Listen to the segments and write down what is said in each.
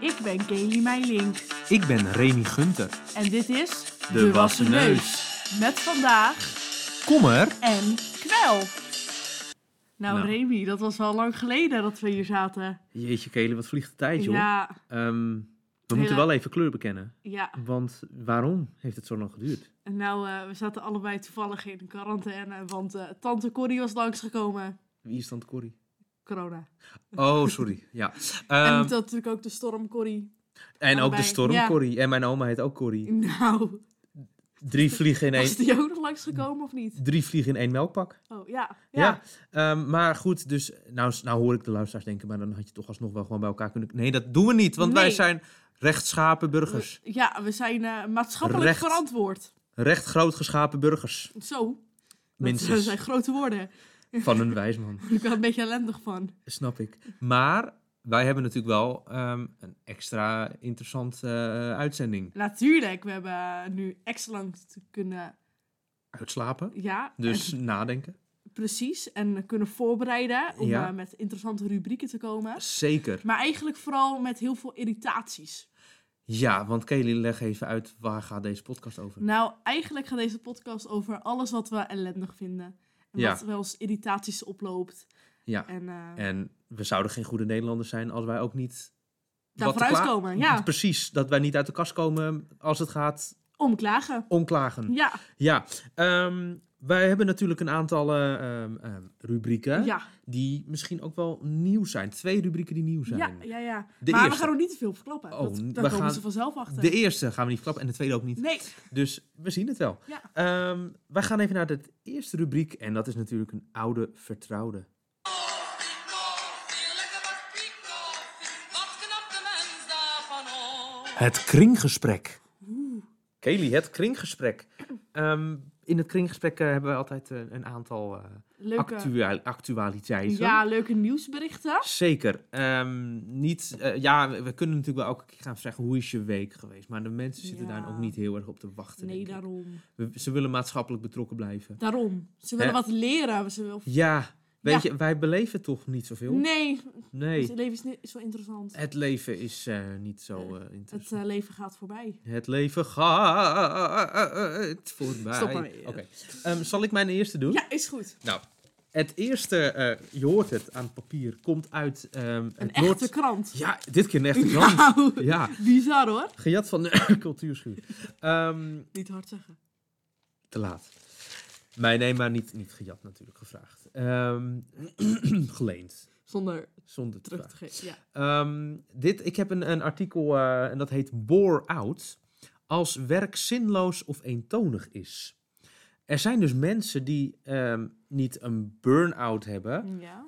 Ik ben Kelly Meilink Ik ben Remy Gunter. en dit is De Wassen Neus. Met vandaag Kom er. en kwel. Nou, Nou. Remy, dat was al lang geleden dat we hier zaten. Jeetje, Kelen, wat vliegt de tijd, joh. Ja, Ehm, we moeten wel even kleur bekennen. ja. Want waarom heeft het zo lang geduurd? En nou, eh, we zaten allebei toevallig in quarantaine, want eh, tante Corrie was langsgekomen. Wie is dan Corrie? Corona. Oh, sorry. Ja. en Ehm, dat natuurlijk ook de storm Corrie. en ook de allebei. storm Ja. Corrie. En mijn oma heet ook Corrie. Nou, Drie vliegen in één, was die ook nog langsgekomen of niet? drie vliegen in één melkpak. Oh, ja. Ja. Ja. Ehm, maar goed, dus nou, s- nou hoor ik de luisteraars denken, maar dan had je toch alsnog wel gewoon bij elkaar kunnen... Nee, dat doen we niet, want wij Nee. zijn rechtschapen burgers. We, ja, we zijn eh, maatschappelijk Recht. verantwoord. Recht groot geschapen burgers, Zo. Dat eh, minstens. zijn grote woorden. Van een wijsman. Ik ben een beetje ellendig van. Snap ik. Maar wij hebben natuurlijk wel ehm, een extra interessante eh, uitzending. Natuurlijk, we hebben nu extra lang te kunnen. Uitslapen. Ja, Dus en- nadenken. precies. En kunnen voorbereiden om Ja. eh, met interessante rubrieken te komen. Zeker. Maar eigenlijk vooral met heel veel irritaties. Ja, want Kelly, leg even uit waar gaat deze podcast over? Nou, eigenlijk gaat deze podcast over alles wat we ellendig vinden. En Ja. wat wel eens irritaties oploopt. Ja. En eh En we zouden geen goede Nederlanders zijn als wij ook niet... daar wat te vooruit kla- komen. Ja, Precies, dat wij niet uit de kast komen als het gaat omklagen. om klagen. Ja, Ja, ehm, wij hebben natuurlijk een aantal eh, ehm, ehm, rubrieken ja, die misschien ook wel nieuw zijn. Twee rubrieken die nieuw zijn. ja, ja, ja. De maar we eerste. gaan ook niet te veel verklappen. Oh, dat, we daar komen gaan- ze vanzelf achter. De eerste gaan we niet verklappen en de tweede ook niet. Nee, Dus we zien het wel. Ja. Ehm, wij gaan even naar de eerste rubriek. En dat is natuurlijk een oude vertrouwde. Lekker wat piekoffie, wat knapt de mens daarvan op? Het kringgesprek. Kelly, het kringgesprek. Ehm, in het kringgesprek eh, hebben we altijd eh, een aantal eh, leuke, actua- actualiteiten. ja, leuke nieuwsberichten. Zeker. Ehm, niet, eh, ja, we we kunnen natuurlijk wel elke keer gaan zeggen hoe is je week geweest. Maar de mensen zitten Ja. daar ook niet heel erg op te wachten. Nee, denk ik. daarom. We- ze willen maatschappelijk betrokken blijven. Daarom. Ze willen Hè? wat leren. Ze willen... Ja, weet je, wij beleven toch niet zoveel. Nee, Dus Nee. het leven is, ni- is wel interessant. Het leven is eh, niet zo eh, interessant. Het eh, leven gaat voorbij. Het leven gaat voorbij. Stop ermee. Oké. Ehm, zal ik mijn eerste doen? Ja, is goed. Nou, het eerste, eh, je hoort het aan het papier, komt uit ehm, Een het echte Noord... krant. Ja, dit keer een echte krant. Nou, Ja, bizar hoor. gejat van de cultuurschuur. Ehm, Niet hard zeggen. te laat. Mijn nee, maar niet, niet gejat natuurlijk, gevraagd. Ehm, geleend, Zonder zonder te terug vragen. te geven. Ja. Ehm, dit, ik heb een, een artikel eh, en dat heet Bore Out. Als werk zinloos of eentonig is. Er zijn dus mensen die ehm, niet een burn-out hebben, ja.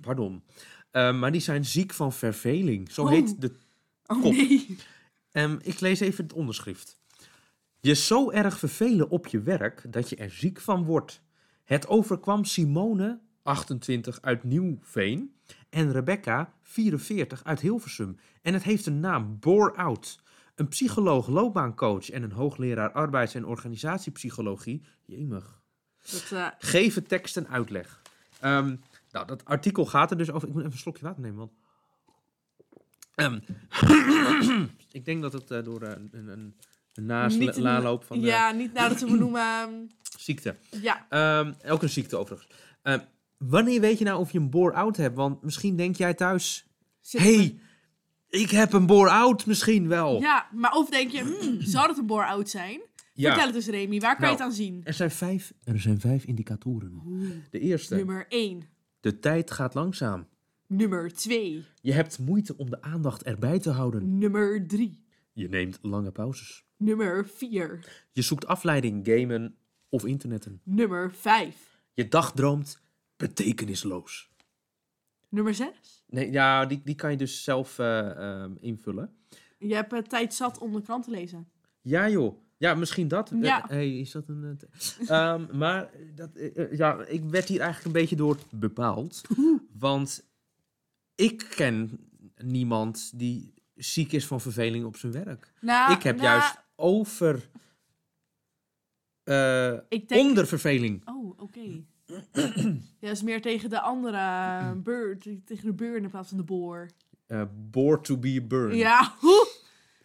pardon, ehm, maar die zijn ziek van verveling. Zo Oh. heet de. Oh Kop. nee. Ehm, ik lees even het onderschrift. Je zo erg vervelen op je werk dat je er ziek van wordt. Het overkwam Simone, 28, uit Nieuwveen, en Rebecca, 44, uit Hilversum. En het heeft een naam, Bore Out. Een psycholoog, loopbaancoach en een hoogleraar arbeids- en organisatiepsychologie, jemig, Dat, eh, geven tekst en uitleg. Ehm, nou, dat artikel gaat er dus over. Ik moet even een slokje water nemen, want. Ehm, ik denk dat het eh, door eh, een, een, een Niet een- nasloop van de ja, niet nou dat we noemen. ziekte. Ja. Ehm, ook een ziekte overigens. Ehm, wanneer weet je nou of je een bore-out hebt? Want misschien denk jij thuis: Zit hé, er- hey, ik heb een bore-out misschien wel. Ja, maar of denk je, hmm, zou dat een bore-out zijn? Ja. Vertel het eens Remy, waar kan Nou. je het aan zien? Er, zijn vijf, er zijn vijf indicatoren. De eerste: Nummer 1. de tijd gaat langzaam. Nummer 2. Je hebt moeite om de aandacht erbij te houden. Nummer 3. Je neemt lange pauzes. Nummer 4. Je zoekt afleiding, gamen of internetten. Nummer 5. Je dagdroomt betekenisloos. Nummer 6. Nee, ja, die, die kan je dus zelf eh, ehm, invullen. Je hebt eh, tijd zat om de krant te lezen. Ja, joh. Ja, misschien dat. Eh, Ja. hey, is dat een... eh, te- Ehm, maar dat, eh, eh, ja, ik werd hier eigenlijk een beetje door bepaald. Want ik ken niemand die ziek is van verveling op zijn werk. Nou, ik heb nou, juist over... eh, Ik denk... Onder verveling. Oh, oké. ja, is meer tegen de andere eh, beur, tegen de beur in plaats van de boor. eh Born to be Burned. Ja, hoe?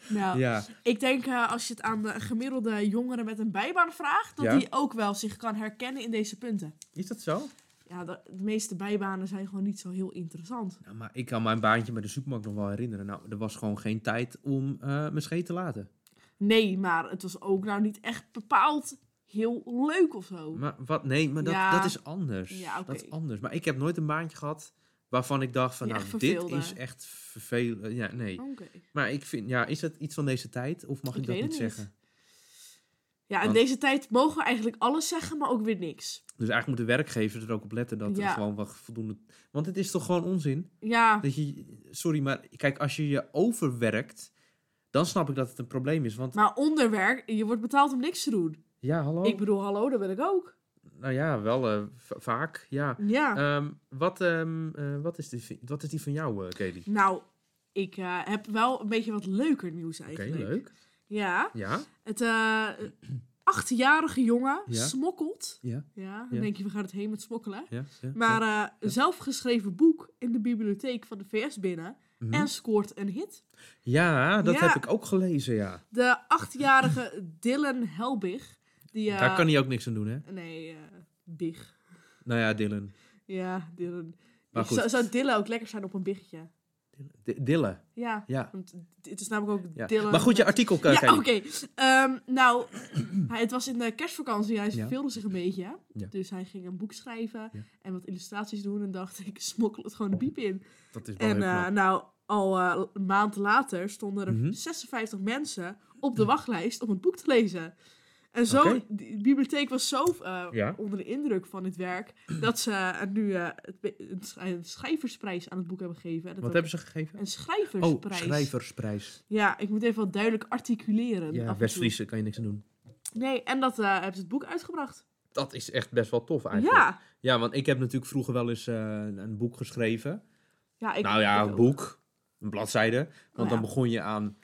Nou, Ja. ik denk eh, als je het aan de gemiddelde jongeren met een bijbaan vraagt, dat Ja. die ook wel zich kan herkennen in deze punten. Is dat zo? Ja, de, de meeste bijbanen zijn gewoon niet zo heel interessant. Nou, maar ik kan mijn baantje bij de supermarkt nog wel herinneren. Nou, er was gewoon geen tijd om eh mijn scheet te laten. Nee, maar het was ook nou niet echt bepaald heel leuk of zo. Maar wat? Nee, maar dat, Ja. dat is anders. Ja, oké. Dat is anders. Maar ik heb nooit een baantje gehad waarvan ik dacht van, Die nou, echt dit verveelde. is echt vervelend. Ja, nee. Oké. Maar ik vind, ja, is dat iets van deze tijd? Of mag ik, Ik dat weet niet, het niet. zeggen? Ja, in Want- deze tijd mogen we eigenlijk alles zeggen, maar ook weer niks. Dus eigenlijk moeten werkgevers er ook op letten dat er Ja. gewoon wel voldoende... Want het is toch gewoon onzin? Ja, Dat je, sorry, maar kijk, als je je overwerkt, dan snap ik dat het een probleem is. Want maar onderwerk, je wordt betaald om niks te doen. ja, hallo? Ik bedoel, hallo, dat ben ik ook. Nou ja, wel eh, va- vaak, ja. Ja. Ehm, wat, ehm, eh, wat, is die, wat is die van jou, eh Kelly? Nou, ik eh, heb wel een beetje wat leuker nieuws Oké, eigenlijk. leuk. Ja, Ja? het eh, achtjarige jongen Ja. smokkelt. Ja. Ja, dan Ja. denk je, we gaan het heen met smokkelen. Ja? ja, Maar eh, een zelfgeschreven boek in de bibliotheek van de VS binnen ja. Mhm. en scoort een hit. Ja, dat Ja. heb ik ook gelezen, ja. De achtjarige Dylan Helbig. Die, eh, Daar kan hij ook niks aan doen, hè? Nee, eh, Big. Nou ja, Dylan. Ja, Dylan. Maar goed. Zou, zou Dylan ook lekker zijn op een biggetje? D- Dylan, Ja, ja. want het is namelijk ook ja. Dylan. Maar goed, je met- artikel, eh, Ja, Kelly. oké. Ehm, nou, hij, het was in de kerstvakantie. Hij Ja. verveelde zich een beetje. hè. Ja. Dus hij ging een boek schrijven Ja. en wat illustraties doen. En dacht, ik smokkel het gewoon de piep in. Dat is wel En Oh, heel eh, knap. nou, al eh, een maand later stonden er Mhm. 56 mensen op de wachtlijst om het boek te lezen. En zo, Oké. die bibliotheek was zo eh, Ja. onder de indruk van dit werk, dat ze eh, nu eh, het be- een, sch- een schrijversprijs aan het boek hebben gegeven. En dat Wat ook hebben ze gegeven? Een schrijversprijs. Oh, schrijversprijs. Ja, ik moet even wat duidelijk articuleren. af en Ja, toe. West-Friese kan je niks aan doen. Nee, en dat eh hebben ze het boek uitgebracht. Dat is echt best wel tof eigenlijk. Ja. Ah, Ja, want ik heb natuurlijk vroeger wel eens eh, een boek geschreven. ja ik, nou ja, ik een ook. boek. Een bladzijde. Want Oh ja. Nou. dan begon je aan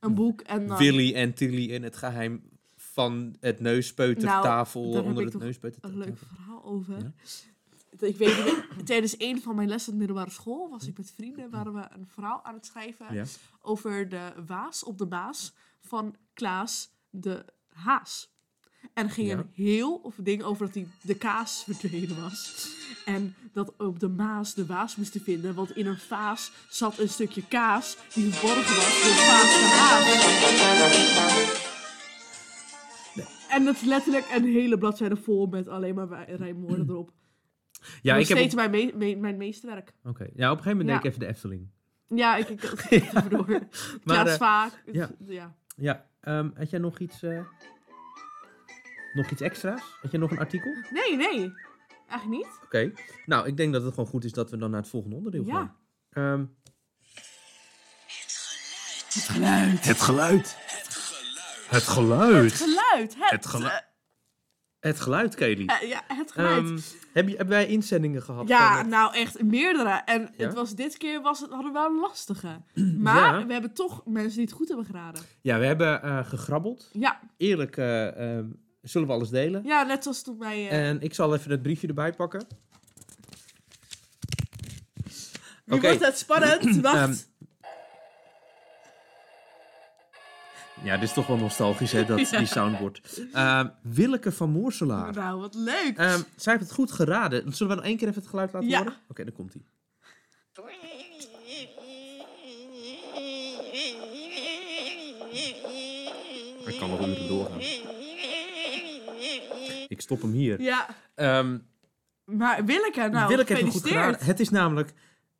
Een boek en dan... Willy en Tilly in het geheim van het neuspeutertafel. Nou, daar heb onder ik het toch Een neuspeutertafel. leuk verhaal over. Ja? Ik weet niet, tijdens een van mijn lessen op de middelbare school was ik met vrienden, waren we een verhaal aan het schrijven Ja. over de waas op de baas van Klaas de Haas. En er ging Ja. een heel of ding over dat hij de kaas verdwenen was. En dat op de Maas de waas moesten vinden, want in een vaas zat een stukje kaas die verborgen was door Vaas de Haas. En dat is letterlijk een hele bladzijde vol met alleen maar wij- rijmwoorden erop. Ja, Nog ik heb steeds op... mijn, me- me- mijn meesterwerk. Oké. ja, op een gegeven moment Ja. deed ik even de Efteling. Ja, ik, ik even door. Maar, Klaas eh, Vaak. ja. Ja. Ja, ehm, had jij nog iets, eh, nog iets extra's? Had jij nog een artikel? Oké. Nee, nee. Eigenlijk niet. Nou, ik denk dat het gewoon goed is dat we dan naar het volgende onderdeel Ja. gaan. Ehm, Het geluid. Het geluid. Geluid. Het, Het geluid. het geluid, Kelly. eh, ja, het geluid. Ehm, heb je, hebben wij inzendingen gehad? ja, van het- nou echt meerdere. En Ja? het was, dit keer was het, hadden we wel een lastige. Maar Ja. we hebben toch mensen die het goed hebben geraden. ja we hebben eh, gegrabbeld. Ja, Eerlijk eh, ehm, zullen we alles delen. ja net zoals toen wij... eh, En ik zal even het briefje erbij pakken. nu oké. Ehm, wordt het spannend. Wacht. Ja, dit is toch wel nostalgisch, hè, dat, die soundboard. Ehm, Willeke van Moorselaar. nou, wat leuk. ah. Ehm, zij heeft het goed geraden. Zullen we nog één keer even het geluid laten Ja. horen? Oké, dan komt hij. Ik Ik kan nog een uur doorgaan. doorgaan. Ik stop hem hier. ja, Ehm, maar Willeke, nou, Willeke heeft hem goed gefeliciteerd. geraden. Het is namelijk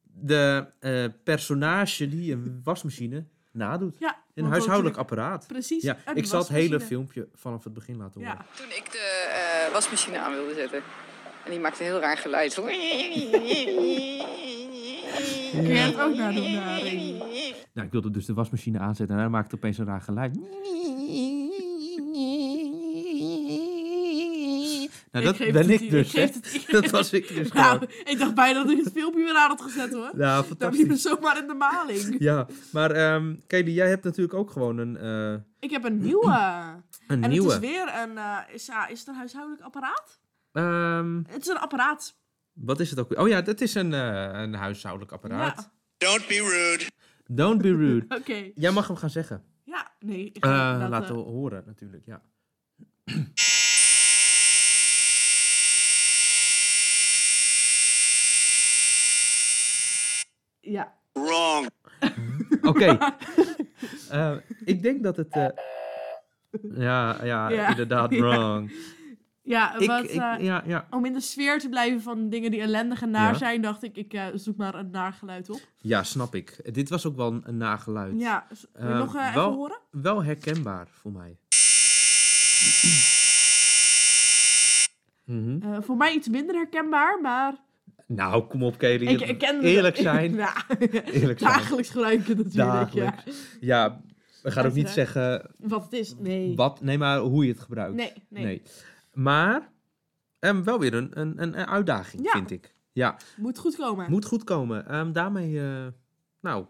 de eh, personage die een wasmachine nadoet. ja, want Een dat huishoudelijk natuurlijk- apparaat. Precies. Ja, een ik zal het wasmachine. hele filmpje vanaf het begin laten horen. Ja. Toen ik de eh, wasmachine aan wilde zetten. En die maakte een heel raar geluid. Kun jij het ook nadoen, eh, Remy? Nou, ik wilde dus de wasmachine aanzetten en hij maakte opeens een raar geluid. Nou, dat geef ben het ik hier, dus. ik hè. geef het hier. Dat was ik dus Nou, gewoon. ik dacht bijna dat ik het filmpje weer aan had gezet hoor. Ja, Dan liep het fantastisch. zomaar in de maling. Ja, maar ehm Kelly, jij hebt natuurlijk ook gewoon een, eh, Ik heb een nieuwe. een en nieuwe. het is weer een. eh, is, ja, is het een huishoudelijk apparaat? Ehm, Het is een apparaat. wat is het ook? weer? Oh ja, dat is een, eh, een huishoudelijk apparaat. Ja. Don't be rude. Don't be rude. Oké. Jij mag hem gaan zeggen. Ja, nee. ik Eh ga inderdaad, laten eh, horen, natuurlijk. Ja. Ja. Wrong. Oké. Eh, ik denk dat het. eh, Ja, ja, Ja. inderdaad, Ja. wrong. Ja, Ik, wat, ik, eh, ja, ja. om in de sfeer te blijven van dingen die ellendig en naar Ja. zijn, dacht ik, ik eh, zoek maar een naar geluid op. ja, snap ik. Dit was ook wel een, een nageluid. Ja, s- wil je Eh, nog eh, wel- even horen? Wel herkenbaar voor mij. Mhm. Eh, voor mij iets minder herkenbaar, maar Nou, kom op, Kerry. ik, ik ken Eerlijk zijn. ja, Eerlijk zijn. dagelijks gebruik ik het natuurlijk, ja. Dagelijks. Ja, we gaan ook niet Uiteraard. zeggen Wat het is, nee. wat, nee, maar hoe je het gebruikt. Nee, nee. Maar ehm, wel weer een, een, een een uitdaging, Ja. vind ik. Ja, Moet goed komen. moet goed komen. Ehm, daarmee, eh, nou,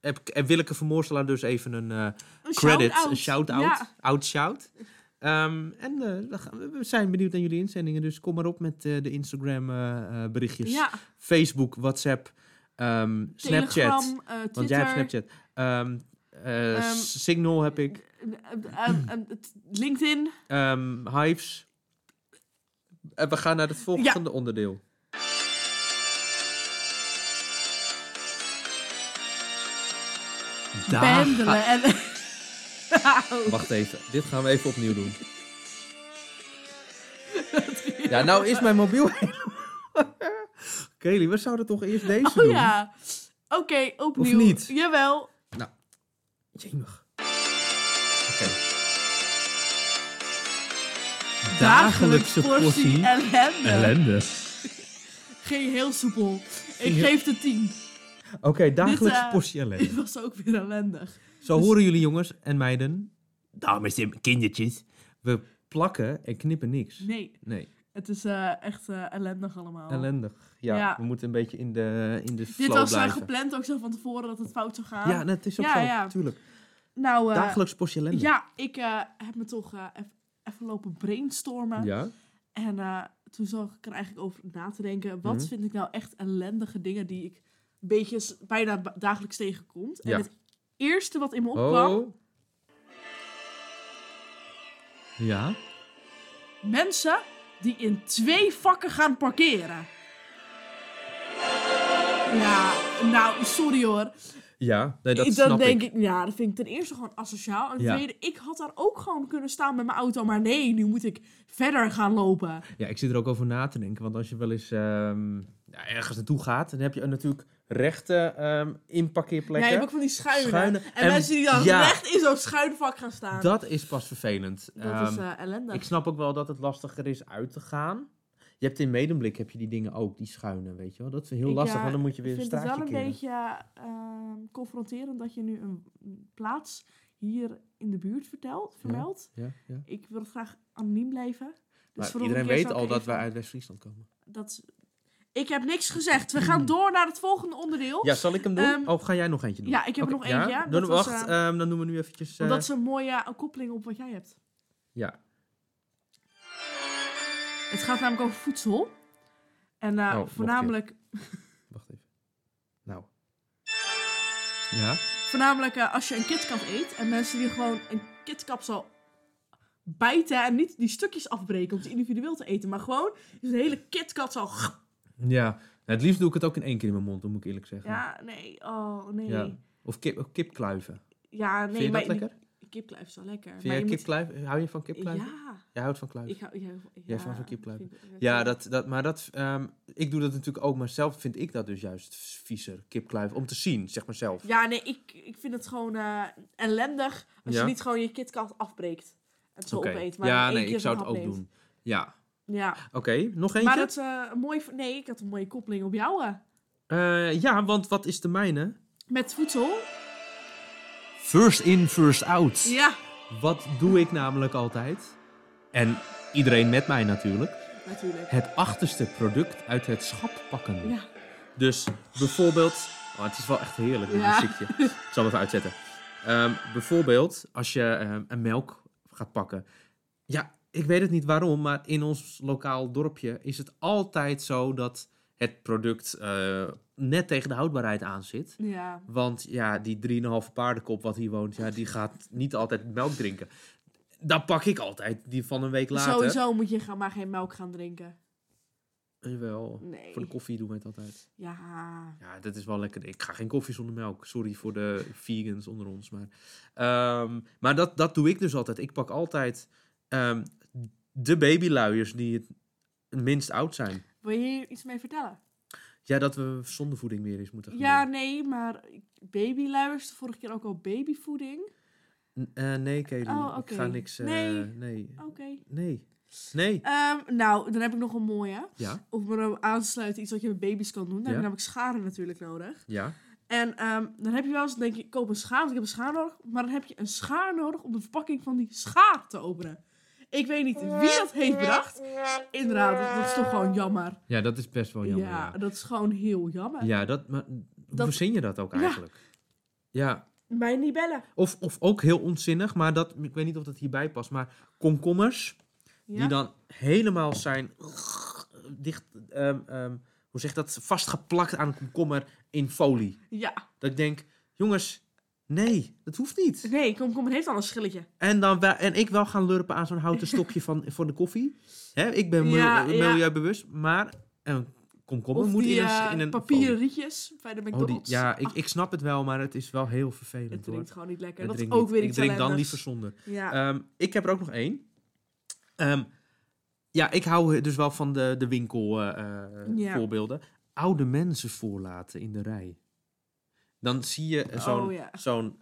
heb ik heb Willeke van Moorselaar dus even een eh, Een credit, shout-out. een shout-out, Ja. out-shout. Ehm, en eh, dan gaan we- we zijn benieuwd naar jullie inzendingen, dus kom maar op met eh, de Instagram eh, eh, berichtjes. Ja, Facebook, WhatsApp, ehm, Snapchat. Telegram, eh, Twitter. Want jij hebt Snapchat. Ehm, eh, Ehm, Signal heb ik. eh, eh, eh, het- LinkedIn. Ehm, Hives. En we gaan naar het volgende onderdeel. Daar Pendelen. ga- En... Wacht even, dit gaan we even opnieuw doen. ja, nou is mijn mobiel helemaal- Kelly, we zouden toch eerst deze Oh doen? ja. Oké, opnieuw. niet? Jawel. Jemig. Oké. Dagelijkse portie portie ellende. Ellende. Ging heel soepel. Ik geef de 10. Oké, dagelijkse eh, portie ellende. Dit was ook weer ellendig. Zo horen jullie jongens en meiden. Dames en kindertjes. We plakken en knippen niks. Nee, Nee, het is eh, echt eh, ellendig allemaal. ellendig. Ja, Ja. we moeten een beetje in de, in de Dit flow was eh, blijven. gepland ook zo van tevoren dat het fout zou gaan. ja, dat is ook Ja, zo, ja. tuurlijk. nou, eh, Dagelijkse portie ellende. ja, ik eh, heb me toch eh, eff- even lopen brainstormen. Ja. En eh, toen zag ik er eigenlijk over na te denken. Wat Mhm. vind ik nou echt ellendige dingen die ik een beetje s- bijna ba- dagelijks tegenkomt? Ja. En het eerste wat in me opkwam, Oh. Ja. mensen die in twee vakken gaan parkeren. Ja, nou, sorry hoor. Ja, nee, dat Ik- snap dan denk ik. ik. ja, dat vind ik ten eerste gewoon asociaal. En ten Ja. tweede, ik had daar ook gewoon kunnen staan met mijn auto. Maar nee, nu moet ik verder gaan lopen. Ja, ik zit er ook over na te denken. Want als je wel eens ehm, ja, ergens naartoe gaat, dan heb je natuurlijk rechte ehm Ja, je inparkeerplekken. hebt ook van die schuinen. Schuinen. En, En- mensen die dan ja. recht in zo'n schuin vak gaan staan. dat is pas vervelend. Dat is Ehm, eh ellendig. ik snap ook wel dat het lastiger is uit te gaan. Je hebt in medemblik heb je die dingen ook, die schuinen, weet je wel. Dat is heel Ik, lastig, eh, want dan moet je weer Ik een vind het straatje wel een keren. beetje ehm, confronterend dat je nu een plaats hier in de buurt vertelt, vermeldt. Ja, ja. Ik wil graag anoniem blijven. Dus Maar voor de iedereen keer weet zou ik al dat even- wij uit West-Friesland komen. dat is- Ik heb niks gezegd. We gaan door naar het volgende onderdeel. Ja, zal ik hem doen? Ehm, of ga jij nog eentje doen? ja, ik heb er Oké, nog eentje, ja. Doe, Dat was, wacht, eh, ehm, dan doen we nu eventjes... Want dat eh, is een mooie eh, koppeling op wat jij hebt. Ja, Het gaat namelijk over voedsel. En eh, Oh, nog een keer. voornamelijk, wacht even. Nou. Ja? voornamelijk eh, als je een KitKat eet. En mensen die gewoon een KitKat zal bijten. En niet die stukjes afbreken om ze individueel te eten. Maar gewoon dus een hele KitKat zal... Ja. Nou, het liefst doe ik het ook in één keer in mijn mond, dat moet ik eerlijk zeggen. Ja, nee. Oh, nee. Ja. Ja, Of, kip, of kipkluiven. nee. Vind je maar dat lekker? die Kipkluif is wel lekker. Vind jij je moet- kipkluiven? Hou je van kipkluiven? Ja. Jij houdt van kluiven? Ik hou, ja, Jij ja, van zo'n kipkluiven. vind ik- Ja, dat, dat, maar dat, ehm, ik doe dat natuurlijk ook, maar zelf vind ik dat dus juist viezer, kipkluif, om te zien, zeg maar zelf. Ja, nee, ik, ik vind het gewoon eh, ellendig als Ja. je niet gewoon je KitKat afbreekt. Het zo Oké. opeet, maar ja, één nee, keer ik zou zo'n het hap ook neemt. doen. Ja, Ja, oké, nog eentje? maar dat is eh, een mooi... Nee, ik had een mooie koppeling op jou. eh. Eh, ja, want wat is de mijne? Met voedsel? First in, first out. Ja. Wat doe ik namelijk altijd? En iedereen met mij natuurlijk. Natuurlijk. Het achterste product uit het schap pakken. Ja. Dus bijvoorbeeld. Oh, het is wel echt heerlijk, dit Ja. muziekje. Ik zal hem even uitzetten. Ehm, bijvoorbeeld, als je ehm, een melk gaat pakken. Ja, ik weet het niet waarom, maar in ons lokaal dorpje is het altijd zo dat het product eh, net tegen de houdbaarheid aan zit. Ja. Want ja, die 3,5 paardenkop wat hier woont, ja, die gaat niet altijd melk drinken. Dan pak ik altijd die van een week later. Sowieso moet je gaan- maar geen melk gaan drinken. Jawel. Nee. Voor de koffie doen wij het altijd. Ja. Ja, dat is wel lekker. Ik ga geen koffie zonder melk. Sorry voor de vegans onder ons. Maar, ehm, maar dat, dat doe ik dus altijd. Ik pak altijd ehm, de babyluiers die het minst oud zijn. Wil je hier iets mee vertellen? Ja, dat we zondevoeding weer eens moeten gaan Ja, doen. nee, maar babyluiers, de vorige keer ook al babyvoeding. N- eh, nee, Kelly. Oh, oké. Ik ga niks... eh, Nee. Nee. Oké. Nee. Nee. Ehm, nou, dan heb ik nog een mooie. Ja. Of maar dan aansluiten iets wat je met baby's kan doen. Dan heb Ja. je namelijk scharen natuurlijk nodig. Ja. En ehm, dan heb je wel eens, denk je, ik koop een schaar, want ik heb een schaar nodig. Maar dan heb je een schaar nodig om de verpakking van die schaar te openen. Ik weet niet wie dat heeft bedacht. Inderdaad, dat- dat is toch gewoon jammer. Ja, dat is best wel jammer. ja, Ja, dat is gewoon heel jammer. ja dat... Maar, hoe Dat- verzin je dat ook Ja. eigenlijk? ja. Mij niet bellen. Of, of ook heel onzinnig, maar dat, ik weet niet of dat hierbij past. Maar komkommers, Ja? die dan helemaal zijn dicht, ehm, ehm, hoe zeg je dat, vastgeplakt aan een komkommer in folie. ja. Dat ik denk, jongens, nee, dat hoeft niet. Nee, komkommer heeft al een schilletje. En, dan wel- en ik wel gaan lurpen aan zo'n houten stokje van, voor de koffie. Hè, ik ben mil- Ja, ja. milieubewust, maar een komkommer Of moet die in een, s- eh, in een papieren folie. rietjes bij de Oh, die, McDonald's. ja, ik, ik snap het wel, maar het is wel heel Het vervelend. hoor. drinkt gewoon niet lekker. Het dat is drinkt ook niet. weer ik iets drink dan ellendigs. liever zonder. Ja. Ehm, ik heb er ook nog één. Ehm, ja, ik hou dus wel van de, de winkelvoorbeelden. Ja. voorbeelden. Oude mensen voorlaten in de rij. Dan zie je zo'n... Oh, ja. zo'n-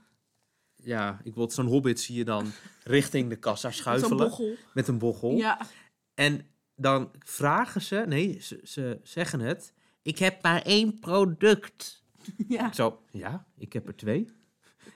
ja, ik wil het- zo'n hobbit zie je dan richting de kassa Zo'n schuifelen. bochel. met een bochel. Ja. En dan vragen ze... Nee, ze, ze zeggen het. Ik heb maar één product. ja. Ik Zo, ja, ik heb er twee.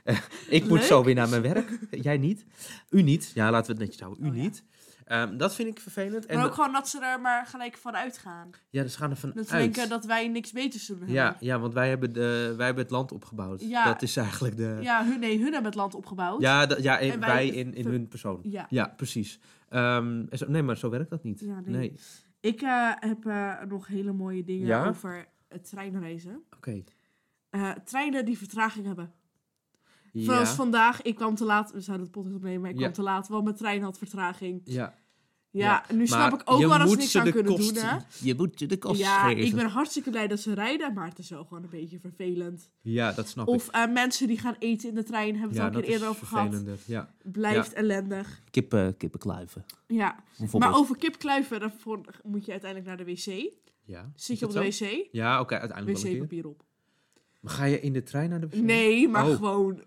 Eh, ik moet Leuk. zo weer naar mijn werk. Jij niet. U niet. Ja, laten we het netjes houden. U Oh, ja. niet. Ehm, dat vind ik vervelend. En Maar ook gewoon dat ze er maar gelijk van uitgaan. ja, dus gaan er Dat vanuit. ze denken dat wij niks beters doen hebben. ja, ja, want wij hebben, de, wij hebben het land opgebouwd. Ja. Dat is eigenlijk de... Ja, Ja, hun, nee, hun hebben het land opgebouwd. da- ja in- En wij, wij in, in ver- hun persoon. Ja. precies. Ehm, en zo- nee, maar zo werkt dat niet. Ja, nee. nee. Ik eh, heb eh, nog hele mooie dingen Ja? over het treinreizen. Oké. Eh, treinen die vertraging hebben. Ja. Zoals vandaag, ik kwam te laat. We zouden het podcast opnemen, maar ik Ja. kwam te laat. Want mijn trein had vertraging. ja. Ja, nu snap Maar ik ook je wel dat ze moet niks ze aan de kunnen kost- doen, hè? Je moet ze de kost Ja, ik geven. ben hartstikke blij dat ze rijden, maar het is wel gewoon een beetje vervelend. Ja, dat snap ik. Of eh, mensen die gaan eten in de trein, hebben we het ja, al een dat keer is eerder over gehad. vervelender. Ja. Blijft ellendig. Kippen, kippenkluiven. Ja. Bijvoorbeeld. Maar over kipkluiven, daarvoor moet je uiteindelijk naar de wc. Ja. Zit Is je op dat de zo? wc? Ja, oké, uiteindelijk wel een keer. Wc-papier op. Maar ga je in de trein naar de wc? Nee, maar Oh. gewoon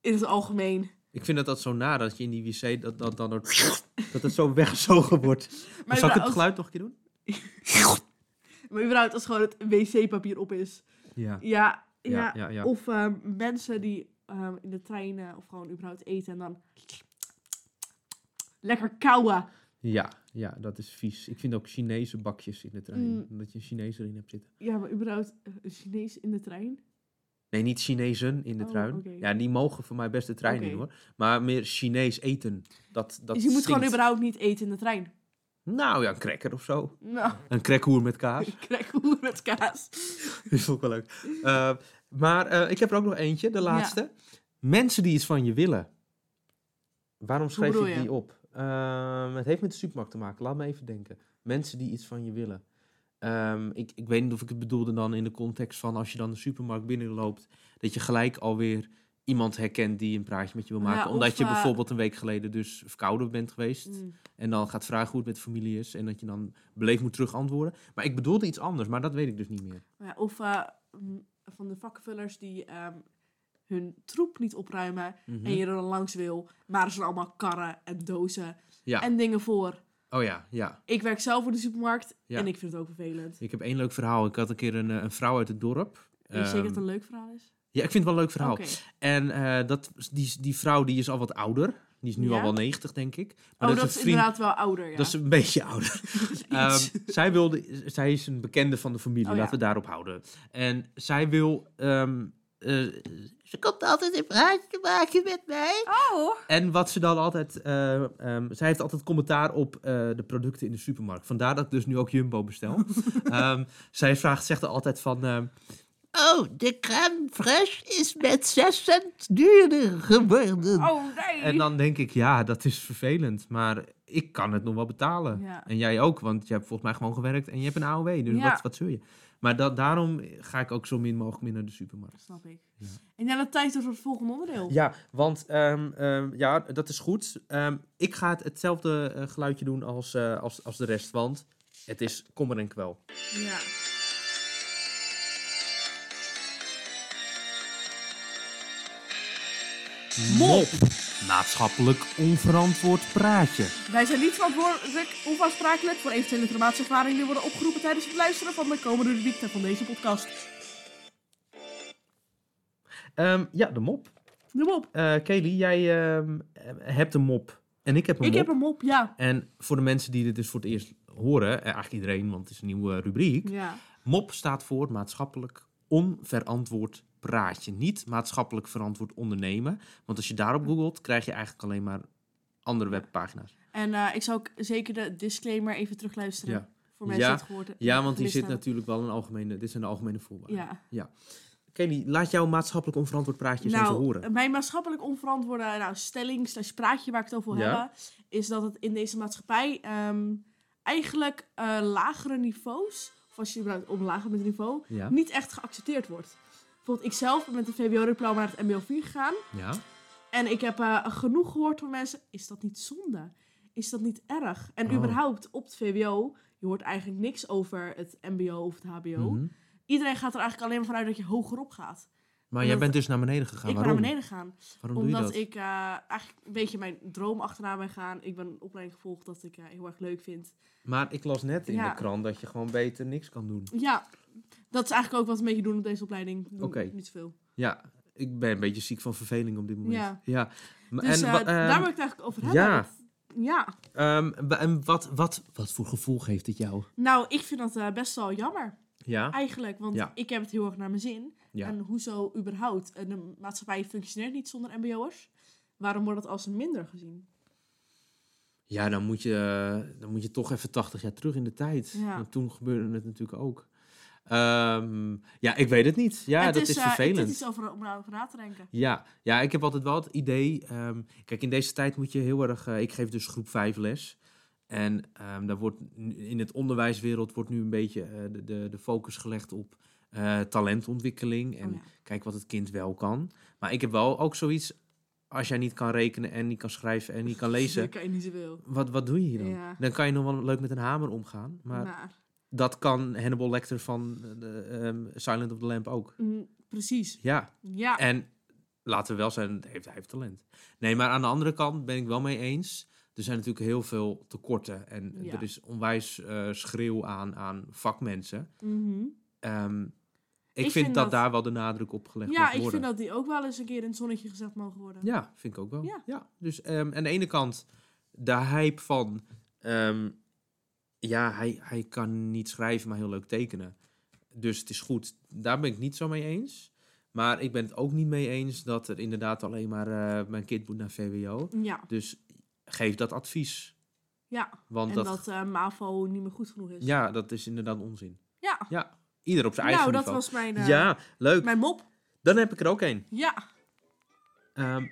in het algemeen. Ik vind dat dat zo na, dat je in die wc, dat dat, dan dat, dat het zo weggezogen wordt. Maar Maar zou ik het überhaupt- geluid nog een keer doen? Maar überhaupt als gewoon het wc-papier op is. Ja. Ja, ja. Ja, ja, ja. Of ehm, mensen die ehm, in de trein eh, of gewoon überhaupt eten en dan... Lekker kauwen. Ja, ja, dat is vies. Ik vind ook Chinese bakjes in de trein. Mm. Omdat je een Chinees erin hebt zitten. Ja, maar überhaupt eh, een Chinees in de trein. Nee, niet Chinezen in de Oh, trein. oké. Ja, die mogen voor mij best de trein in Oké. hoor. Maar meer Chinees eten. Dat, dat dus je moet gewoon stinkt. überhaupt niet eten in de trein. Nou ja, een cracker of zo. Nou, Een crackhoer met kaas. ik krijg hoer met kaas. Dat is ook wel leuk. Eh, maar eh, ik heb er ook nog eentje, de laatste. Mensen die iets van je willen. Waarom schrijf bedoel ik je? die op? Ehm, het heeft met de supermarkt te maken. Laat me even denken. Mensen die iets van je willen. Ehm, ik, ik weet niet of ik het bedoelde dan in de context van als je dan de supermarkt binnenloopt, dat je gelijk alweer iemand herkent die een praatje met je wil Ja, maken. omdat of, je eh, bijvoorbeeld een week geleden dus verkouden bent geweest. Mm. En dan gaat vragen hoe het met de familie is. En dat je dan beleefd moet terugantwoorden. Maar ik bedoelde iets anders, maar dat weet ik dus niet meer. Ja, of eh, m, van de vakkenvullers die ehm, hun troep niet opruimen. Mhm. En je er dan langs wil. Maar er zijn allemaal karren en dozen. Ja. En dingen voor. Oh ja, ja. Ik werk zelf voor de supermarkt. Ja. En ik vind het ook vervelend. Ik heb één leuk verhaal. Ik had een keer een, eh, een vrouw uit het dorp. Weet je zeker dat het Ehm, nou, een leuk verhaal is? Ja, ik vind het wel een leuk verhaal. Oké. En eh, dat, die, die vrouw die is al wat ouder. Die is nu Ja? al wel 90, denk ik. Oh, Maar dat, is inderdaad wel ouder, ja. Dat is een beetje ouder. Ehm, zij, wilde, zij is een bekende van de familie, Oh, ja. laten we daarop houden. En zij wil ehm, eh, ze komt altijd een praatje maken met mij. Oh. En wat ze dan altijd... eh, ehm, zij heeft altijd commentaar op eh, de producten in de supermarkt. Vandaar dat ik dus nu ook Jumbo bestel. Ehm, zij vraagt, zegt er altijd van... ehm, oh, de crème fraîche is met 6 cent duurder geworden. Oh, nee. En dan denk ik, ja, dat is vervelend. Maar ik kan het nog wel betalen. Ja. En jij ook, want je hebt volgens mij gewoon gewerkt en je hebt een AOW. Dus Ja. wat, wat zul je? Maar da- daarom ga ik ook zo min mogelijk meer naar de supermarkt. Snap ik. En dan de tijd is voor het volgende onderdeel. Ja, want ehm, ehm, ja, dat is goed. Ehm, ik ga het, hetzelfde eh, geluidje doen als, eh, als, als de rest, want het is kommer en kwel. Ja. Mop! Maatschappelijk onverantwoord praatje. Wij zijn niet verantwoordelijk of aansprakelijk voor eventuele informatieervaringen die worden opgeroepen tijdens het luisteren van de komende rubriek van deze podcast. Ehm, ja, de mop. Noem op. Eh Kelly, jij ehm, hebt een mop. En ik heb een Ik mop. heb hem op, ja. En voor de mensen die dit dus voor het eerst horen, eh, eigenlijk iedereen, want het is een nieuwe eh, rubriek. Ja. MOP staat voor maatschappelijk onverantwoord praatje. Niet maatschappelijk verantwoord ondernemen. Want als je daarop googelt, krijg je eigenlijk alleen maar andere webpagina's. En eh, ik zou ook zeker de disclaimer even terugluisteren. Ja. Voor mensen Ja. die het gehoord hebben. Ja, want die gemist zit hebben. natuurlijk wel een algemene. Dit zijn de algemene voorwaarden. nou. Ja. Kelly, laat jouw maatschappelijk onverantwoord praatje eens even horen. Nou, mijn maatschappelijk onverantwoorde nou, stelling slash praatje waar ik het over wil Ja. hebben, is dat het in deze maatschappij ehm, eigenlijk eh, lagere niveaus, of als je überhaupt omlaag met niveau, Ja. niet echt geaccepteerd wordt. Bijvoorbeeld ikzelf ben met een VWO-diploma naar het MBO 4 gegaan. Ja. En ik heb eh, genoeg gehoord van mensen, is dat niet zonde? Is dat niet erg? En Oh. überhaupt op het VWO, je hoort eigenlijk niks over het MBO of het HBO. Mhm. Iedereen gaat er eigenlijk alleen maar vanuit dat je hogerop gaat. Maar jij Omdat- bent dus naar beneden gegaan. ik ben naar Waarom? beneden gegaan. Waarom doe je Omdat dat? ik eh, eigenlijk een beetje mijn droom achterna ben gaan. Ik ben een opleiding gevolgd dat ik eh, heel erg leuk vind. Maar ik las net in Ja. de krant dat je gewoon beter niks kan doen. Ja, dat is eigenlijk ook wat we een beetje doen op deze opleiding. Doen Oké. Niet zoveel. Ja, ik ben een beetje ziek van verveling op dit moment. Ja. Ja. Maar- Dus en, eh, wa- ehm, daar wil ik het eigenlijk over hebben. ja. Ja. ehm, wa- en wat, wat, wat voor gevoel geeft het jou? Nou, ik vind dat eh, best wel jammer Ja, eigenlijk. Want Ja. ik heb het heel erg naar mijn zin. Ja. En hoezo überhaupt? En de maatschappij functioneert niet zonder mbo'ers. Waarom wordt dat als minder gezien? ja dan, moet je, eh, dan moet je toch even 80 jaar terug in de tijd. Ja. Want toen gebeurde het natuurlijk ook. Ehm, ja, ik weet het niet. Ja, het dat is, eh, vervelend. Het is iets over, om over na te denken. Ja, ja, ik heb altijd wel het idee. ehm, kijk, in deze tijd moet je heel erg. eh, ik geef dus groep 5 les. En ehm, daar wordt nu- in het onderwijswereld wordt nu een beetje eh, de, de, de focus gelegd op eh, talentontwikkeling. En Oh ja. kijk wat het kind wel kan. Maar ik heb wel ook zoiets. Als jij niet kan rekenen en niet kan schrijven en niet kan lezen. Dat kan je niet zoveel. Wat, wat doe je hier dan? Ja. Dan kan je nog wel leuk met een hamer omgaan. Maar Maar- dat kan Hannibal Lecter van eh, de, ehm, Silent of the Lamp ook. Mm, precies. Ja, Ja. en laten we wel zijn, hij heeft, hij heeft talent. Nee, maar aan de andere kant ben ik wel mee eens. Er zijn natuurlijk heel veel tekorten. En Ja. er is onwijs eh, schreeuw aan, aan vakmensen. Mhm. Ehm, ik, Ik vind, vind dat, dat- daar wel de nadruk op gelegd Ja, mag ik worden. vind dat die ook wel eens een keer in het zonnetje gezet mogen worden. Ja, vind ik ook wel. Ja. Ja. Dus ehm, aan de ene kant de hype van... ehm, ja, hij, hij kan niet schrijven, maar heel leuk tekenen. Dus het is goed. Daar ben ik niet zo mee eens. Maar ik ben het ook niet mee eens dat er inderdaad alleen maar... eh, mijn kind moet naar VWO. Ja, Dus geef dat advies. ja. Want en dat, dat, eh, MAVO niet meer goed genoeg is. ja, dat is inderdaad onzin. Ja. Ja, ieder op zijn nou, eigen dat niveau. was mijn, eh, Ja, leuk. mijn mop. Dan heb ik er ook een. Ja. Ehm,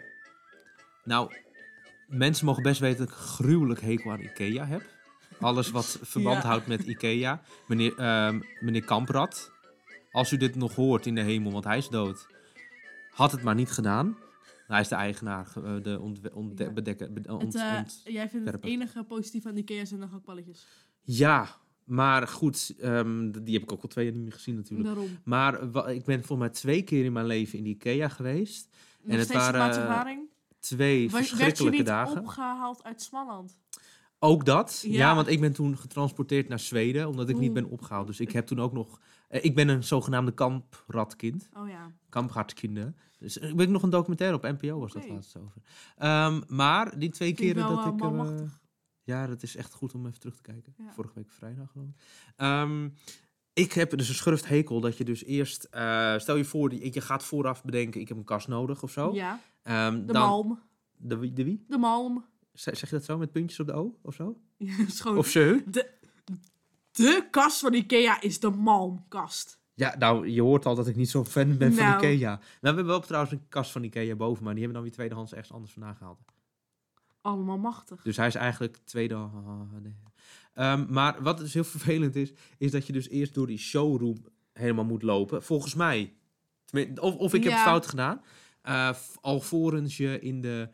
nou, mensen mogen best weten dat ik een gruwelijk hekel aan IKEA heb. Alles wat verband Ja. houdt met IKEA. Meneer, ehm, meneer Kamprad, als u dit nog hoort in de hemel, want hij is dood. Had het maar niet gedaan. Hij is de eigenaar, ge- eh, de ontde- ontde- Ja. bedekker. bed- Het, ont- eh, ont- jij vindt het ontwerpen. enige positief aan die IKEA zijn de gakballetjes. Ja, maar goed, ehm, d- die heb ik ook al twee jaar niet meer gezien natuurlijk. Daarom. Maar eh, wa- ik ben volgens mij twee keer in mijn leven in de IKEA geweest. Nog het steeds de waren, maatservaring. Twee Was- Werd je verschrikkelijke niet dagen. opgehaald uit Smalland? Ook dat. Ja. Ja. want ik ben toen getransporteerd naar Zweden, omdat ik niet Oeh. ben opgehaald. Dus ik heb toen ook nog... eh, ik ben een zogenaamde kampratkind. Oh ja. Kampratkinder. Dus er ben ik nog een documentaire op NPO, was dat Oké. laatst over. Ehm, maar die twee Vind ik keren wel, dat eh, ik... eh, manmachtig. ja, dat is echt goed om even terug te kijken. Ja. Vorige week vrijdag gewoon. Ehm, Ik heb dus een schurft hekel dat je dus eerst... eh, stel je voor, je je gaat vooraf bedenken, ik heb een kast nodig of zo. Ja, Ehm, de dan, malm. De, wie- de wie? De malm. Zeg, zeg je dat zo, met puntjes op de O of zo? Ja, dat is gewoon- Of ze? De kast van Ikea is de malmkast. Ja, nou, je hoort al dat ik niet zo'n fan ben van Nou. Ikea. Nou, we hebben wel trouwens een kast van Ikea boven, maar die hebben dan weer tweedehands ergens anders vandaan gehaald. Allemaal machtig. Dus hij is eigenlijk tweede... nee. Ehm, maar wat dus heel vervelend is, is dat je dus eerst door die showroom helemaal moet lopen. Volgens mij. Tenmin- Of, of ik heb Ja. het fout gedaan. Eh, v- alvorens je in, de,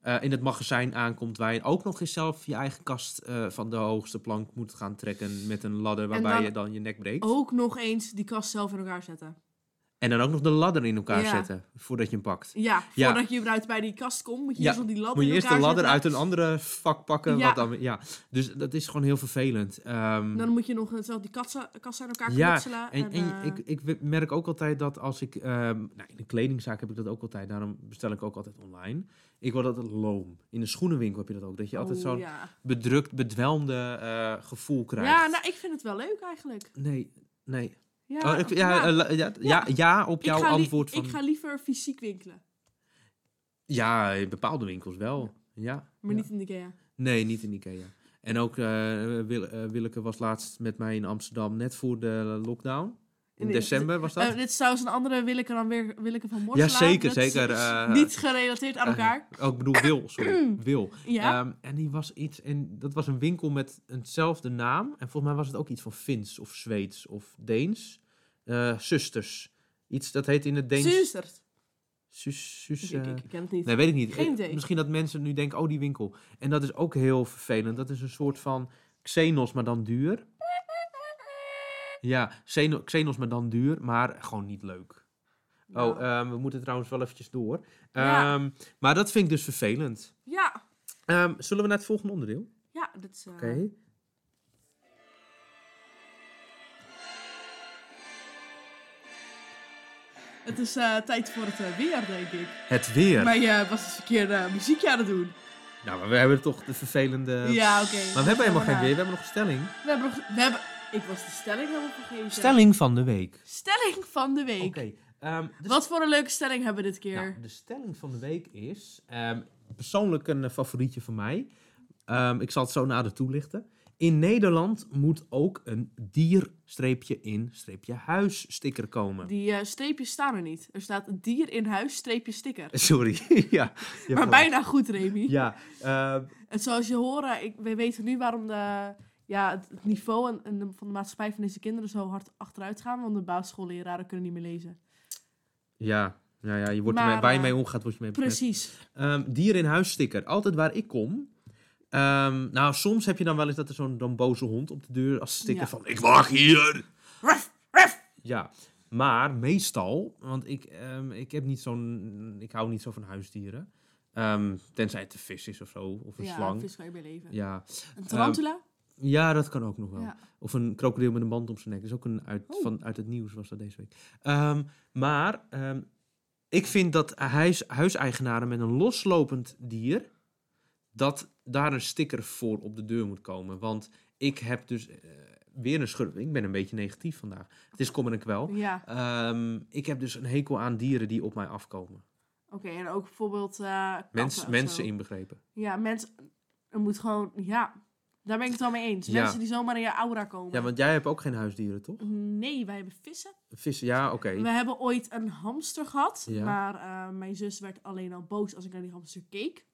eh, in het magazijn aankomt waar je ook nog eens zelf je eigen kast eh, van de hoogste plank moet gaan trekken met een ladder waarbij dan Oh. je dan je nek breekt. Ook nog eens die kast zelf in elkaar zetten. En dan ook nog de ladder in elkaar Ja. zetten voordat je hem pakt. Ja, Ja. voordat je überhaupt bij die kast komt, moet je Ja, eerst op die ladder Moet je in eerst de elkaar ladder uit zetten. een andere vak pakken. Ja. Wat dan, ja. Dus dat is gewoon heel vervelend. Ehm, Dan moet je nog zelf die kassa- kassen aan elkaar Ja, knutselen. en, en eh, ik, ik merk ook altijd dat als ik... ehm, nou, in een kledingzaak heb ik dat ook altijd. Daarom bestel ik ook altijd online. Ik word altijd loom. In een schoenenwinkel heb je dat ook. Dat je altijd oh, zo'n Ja. bedrukt, bedwelmde eh, gevoel krijgt. ja, nou, ik vind het wel leuk eigenlijk. Nee, nee. Ja, Oh, ik- ja, nou, eh, la- ja, ja, ja, op ik jouw ga li- antwoord van... Ik ga liever fysiek winkelen, Ja, in bepaalde winkels wel. Ja. maar ja. niet in de Ikea. Nee, niet in Ikea. En ook eh Wil- eh, Willeke was laatst met mij in Amsterdam, net voor de lockdown. In Nee, december was dat? Eh, dit is trouwens een andere Willeke dan weer Willeke van ja, Morselaar. zeker, Dat is zeker. eh, niet gerelateerd aan eh, elkaar. oh, ik bedoel Wil, sorry. Wil. ja. Ehm, en die was iets, en dat was een winkel met eenzelfde naam. En volgens mij was het ook iets van Fins of Zweeds of Deens. Eh, zusters. Iets dat heet in het Deens. Zuster. Sus, sus, ik, eh, ik, ik ken het niet. Nee, weet ik niet. Geen Eh, idee. Misschien dat mensen nu denken, oh, die winkel. En dat is ook heel vervelend. Dat is een soort van Xenos, maar dan duur. Ja, Xeno- Xenos, maar dan duur, maar gewoon niet leuk. Ja. Oh, ehm, we moeten trouwens wel eventjes door. Ja. Ehm, Maar dat vind ik dus vervelend. Ja, Ehm, zullen we naar het volgende onderdeel? ja, dat is... eh, Oké. Het is eh, tijd voor het eh, weer, denk ik. Het weer. Maar je was eens een keer eh, muziekje aan het doen. Nou, maar we hebben toch de vervelende... ja, oké. Eh, Maar we hebben helemaal geen Ja. weer, we hebben nog een stelling. We hebben, nog- we hebben... Ik was de stelling helemaal vergeten. Stelling van de week. Stelling van de week. Oké. ehm, de Wat voor een leuke stelling hebben we dit keer? Nou, de stelling van de week is, ehm, persoonlijk een eh, favorietje van mij. Ehm, ik zal het zo nader toelichten. In Nederland moet ook een dier-in-huis-sticker komen. Die eh, streepjes staan er niet. Er staat een dier in huis, streepje sticker. Sorry, ja. je hebt maar gelijk. bijna goed, Remy. Ja, ehm, En zoals je hoort, ik, we weten nu waarom de, ja, het het niveau en, en de- van de maatschappij van deze kinderen zo hard achteruit gaan. Want de basisschoolleraren kunnen niet meer lezen. ja, nou ja, je wordt Maar, ermee- waar je eh, mee omgaat, word je mee besmet. Precies. Ehm, dier in huis sticker. Altijd waar ik kom. Ehm, nou, soms heb je dan wel eens dat er zo'n dan boze hond op de deur als sticker Ja. van ik wacht hier. Ruff, ruff. Ja, maar meestal, want ik, ehm, ik heb niet zo'n, ik hou niet zo van huisdieren. Ehm, tenzij het een vis is of zo, of een ja, slang. vis kan je bij leven. Ja. Een tarantula? ja, dat kan ook nog wel. Ja. Of een krokodil met een band om zijn nek. Dat is ook een uit, Oh. van, uit het nieuws, was dat deze week. Ehm, maar ehm, ik vind dat huis, huiseigenaren met een loslopend dier... dat daar een sticker voor op de deur moet komen. Want ik heb dus eh, weer een schurf. Ik ben een beetje negatief vandaag. Het is kom en kwel. Ja. Ehm, ik heb dus een hekel aan dieren die op mij afkomen. Oké, en ook bijvoorbeeld eh, katten Mens, of mensen zo. inbegrepen. Ja, mensen. Er moet gewoon, ja. Daar ben ik het wel mee eens. Ja. Mensen die zomaar in je aura komen. Ja, want jij hebt ook geen huisdieren, toch? Nee, wij hebben vissen. Vissen, ja, oké. We hebben ooit een hamster gehad. Ja. Maar eh, mijn zus werd alleen al boos als ik naar die hamster keek.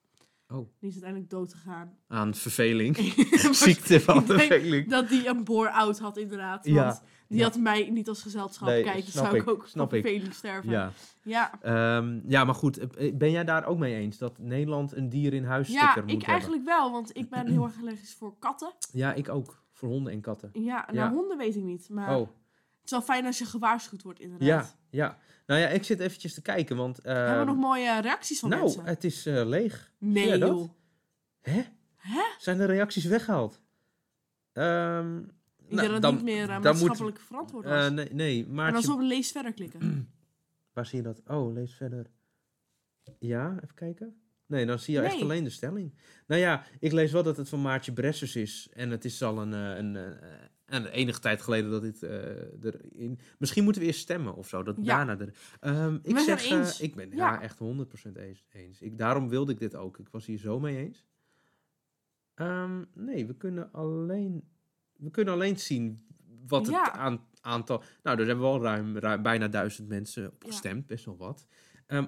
Oh. Die is uiteindelijk dood gegaan. Aan verveling. Maar Ziekte van ik denk verveling. Dat die een bore-out had, inderdaad. Ja. Want die Ja. had mij niet als gezelschap. Nee, Kijk, dan snap zou ik ik, ook van snap ik. verveling sterven. Ja. ja. Ehm, ja, maar goed, eh, ben jij daar ook mee eens dat Nederland een dier in huis Ja, sticker ik moet hebben? eigenlijk wel, want ik ben heel erg allergisch voor katten. Ja, ik ook. Voor honden en katten. Ja, nou, Ja. honden weet ik niet. Maar oh, het is wel fijn als je gewaarschuwd wordt, inderdaad. ja, ja. Nou ja, ik zit eventjes te kijken, want... ehm, Hebben we nog mooie eh, reacties van nou, mensen? het is eh, leeg. nee, ja, dat? joh. Hè? Hè? Zijn de reacties weggehaald? Ehm, Ik nou, denk dat dan- het niet meer eh, dan maatschappelijk verantwoord moet, was. eh, nee, nee, en dan Maartje... zullen we lees verder klikken. Waar zie je dat? Oh, lees verder. Ja, even kijken. Nee, dan zie je echt Nee. alleen de stelling. Nou ja, ik lees wel dat het van Maartje Bressers is. En het is al een, eh, een, eh, En de enige tijd geleden dat dit eh, erin... Misschien moeten we eerst stemmen of zo. Dat Ja. daarna er... Ehm, ik zijn zeg, het eh, eens. ik ben Ja. ja. echt 100% eens. eens. Ik, daarom wilde ik dit ook. Ik was hier zo mee eens. Ehm, nee, we kunnen alleen... We kunnen alleen zien wat het Ja. aan- aantal... Nou, er hebben wel ruim, ruim bijna duizend mensen op Ja. gestemd. Best wel wat. Ehm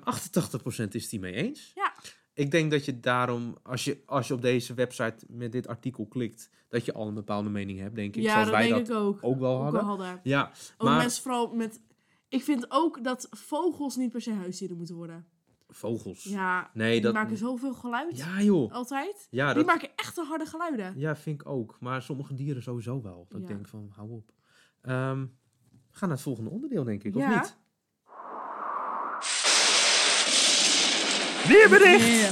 88% is die mee eens. Ja. Ik denk dat je daarom, als je, als je op deze website met dit artikel klikt, dat je al een bepaalde mening hebt, denk ik. Ja, zoals dat wij denk dat ik ook. ook wel Ook hadden. al hadden. Ja, Ook maar mensen vooral met... Ik vind ook dat vogels niet per se huisdieren moeten worden. vogels. Ja, Nee, die dat- maken zoveel geluid. Ja, joh. Altijd. Ja, Die dat maken echt te harde geluiden. ja, vind ik ook. Maar sommige dieren sowieso wel. Dat Ja. ik denk van, hou op. Ehm, we gaan naar het volgende onderdeel, denk ik, Ja. of niet? Weerbericht!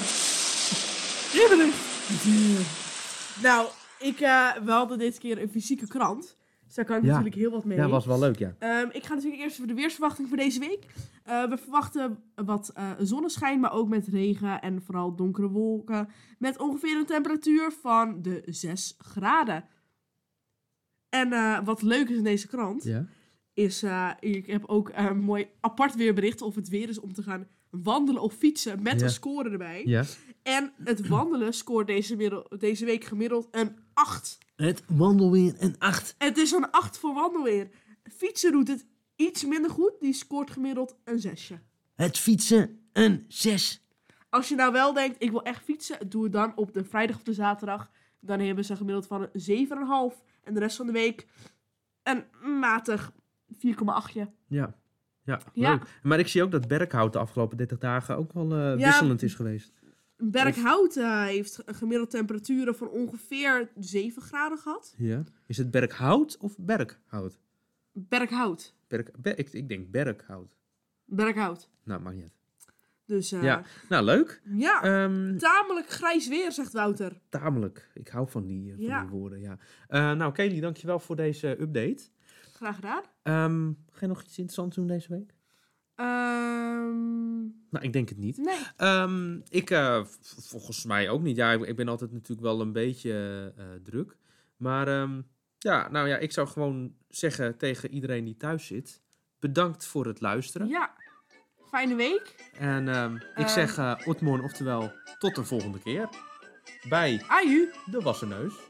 Nou, ik, eh, we hadden dit keer een fysieke krant. Dus daar kan ik Ja. natuurlijk heel wat mee. Ja, was wel leuk, ja. Ehm, ik ga natuurlijk eerst voor de weersverwachting voor deze week. Eh, we verwachten wat eh, zonneschijn, maar ook met regen en vooral donkere wolken. Met ongeveer een temperatuur van de 6 graden. En eh, wat leuk is in deze krant, Ja, is, eh, ik heb ook eh, een mooi apart weerbericht of het weer is om te gaan wandelen of fietsen met Ja. een score erbij. ja. En het wandelen scoort deze, middel- deze week gemiddeld een 8. Het wandelweer en acht. Het is een 8 voor wandelweer. Fietsen doet het iets minder goed. Die scoort gemiddeld een 6. Het fietsen een zes. Als je nou wel denkt, ik wil echt fietsen, doe het dan op de vrijdag of de zaterdag. Dan hebben ze gemiddeld van een 7,5. En de rest van de week een matig 4,8. Ja. Ja, Ja. leuk. Maar ik zie ook dat Berkhout de afgelopen 30 dagen ook wel eh, Ja. wisselend is geweest. Berkhout eh, heeft een gemiddelde temperaturen van ongeveer 7 graden gehad. Ja. Is het Berkhout of Berkhout? Berkhout. Berk, Ber- ik, ik denk Berkhout. Berkhout. Nou, maakt niet uit. Dus eh, Ja, nou leuk. ja. Ehm, Tamelijk grijs weer, zegt Wouter. tamelijk. Ik hou van die, eh, van Ja. die woorden, ja. Eh, nou, Kelly, dankjewel voor deze update. Graag gedaan. Ehm, ga je nog iets interessants doen deze week? Ehm, Nou, ik denk het niet. nee. Ehm, ik eh, v- volgens mij ook niet. Ja, ik, ik ben altijd natuurlijk wel een beetje eh, druk. Maar ehm, ja, nou ja, ik zou gewoon zeggen tegen iedereen die thuis zit: bedankt voor het luisteren. Ja. Fijne week. En ehm, ik Ehm. zeg eh otmorn, oftewel tot de volgende keer bij Aju. de Wasseneus.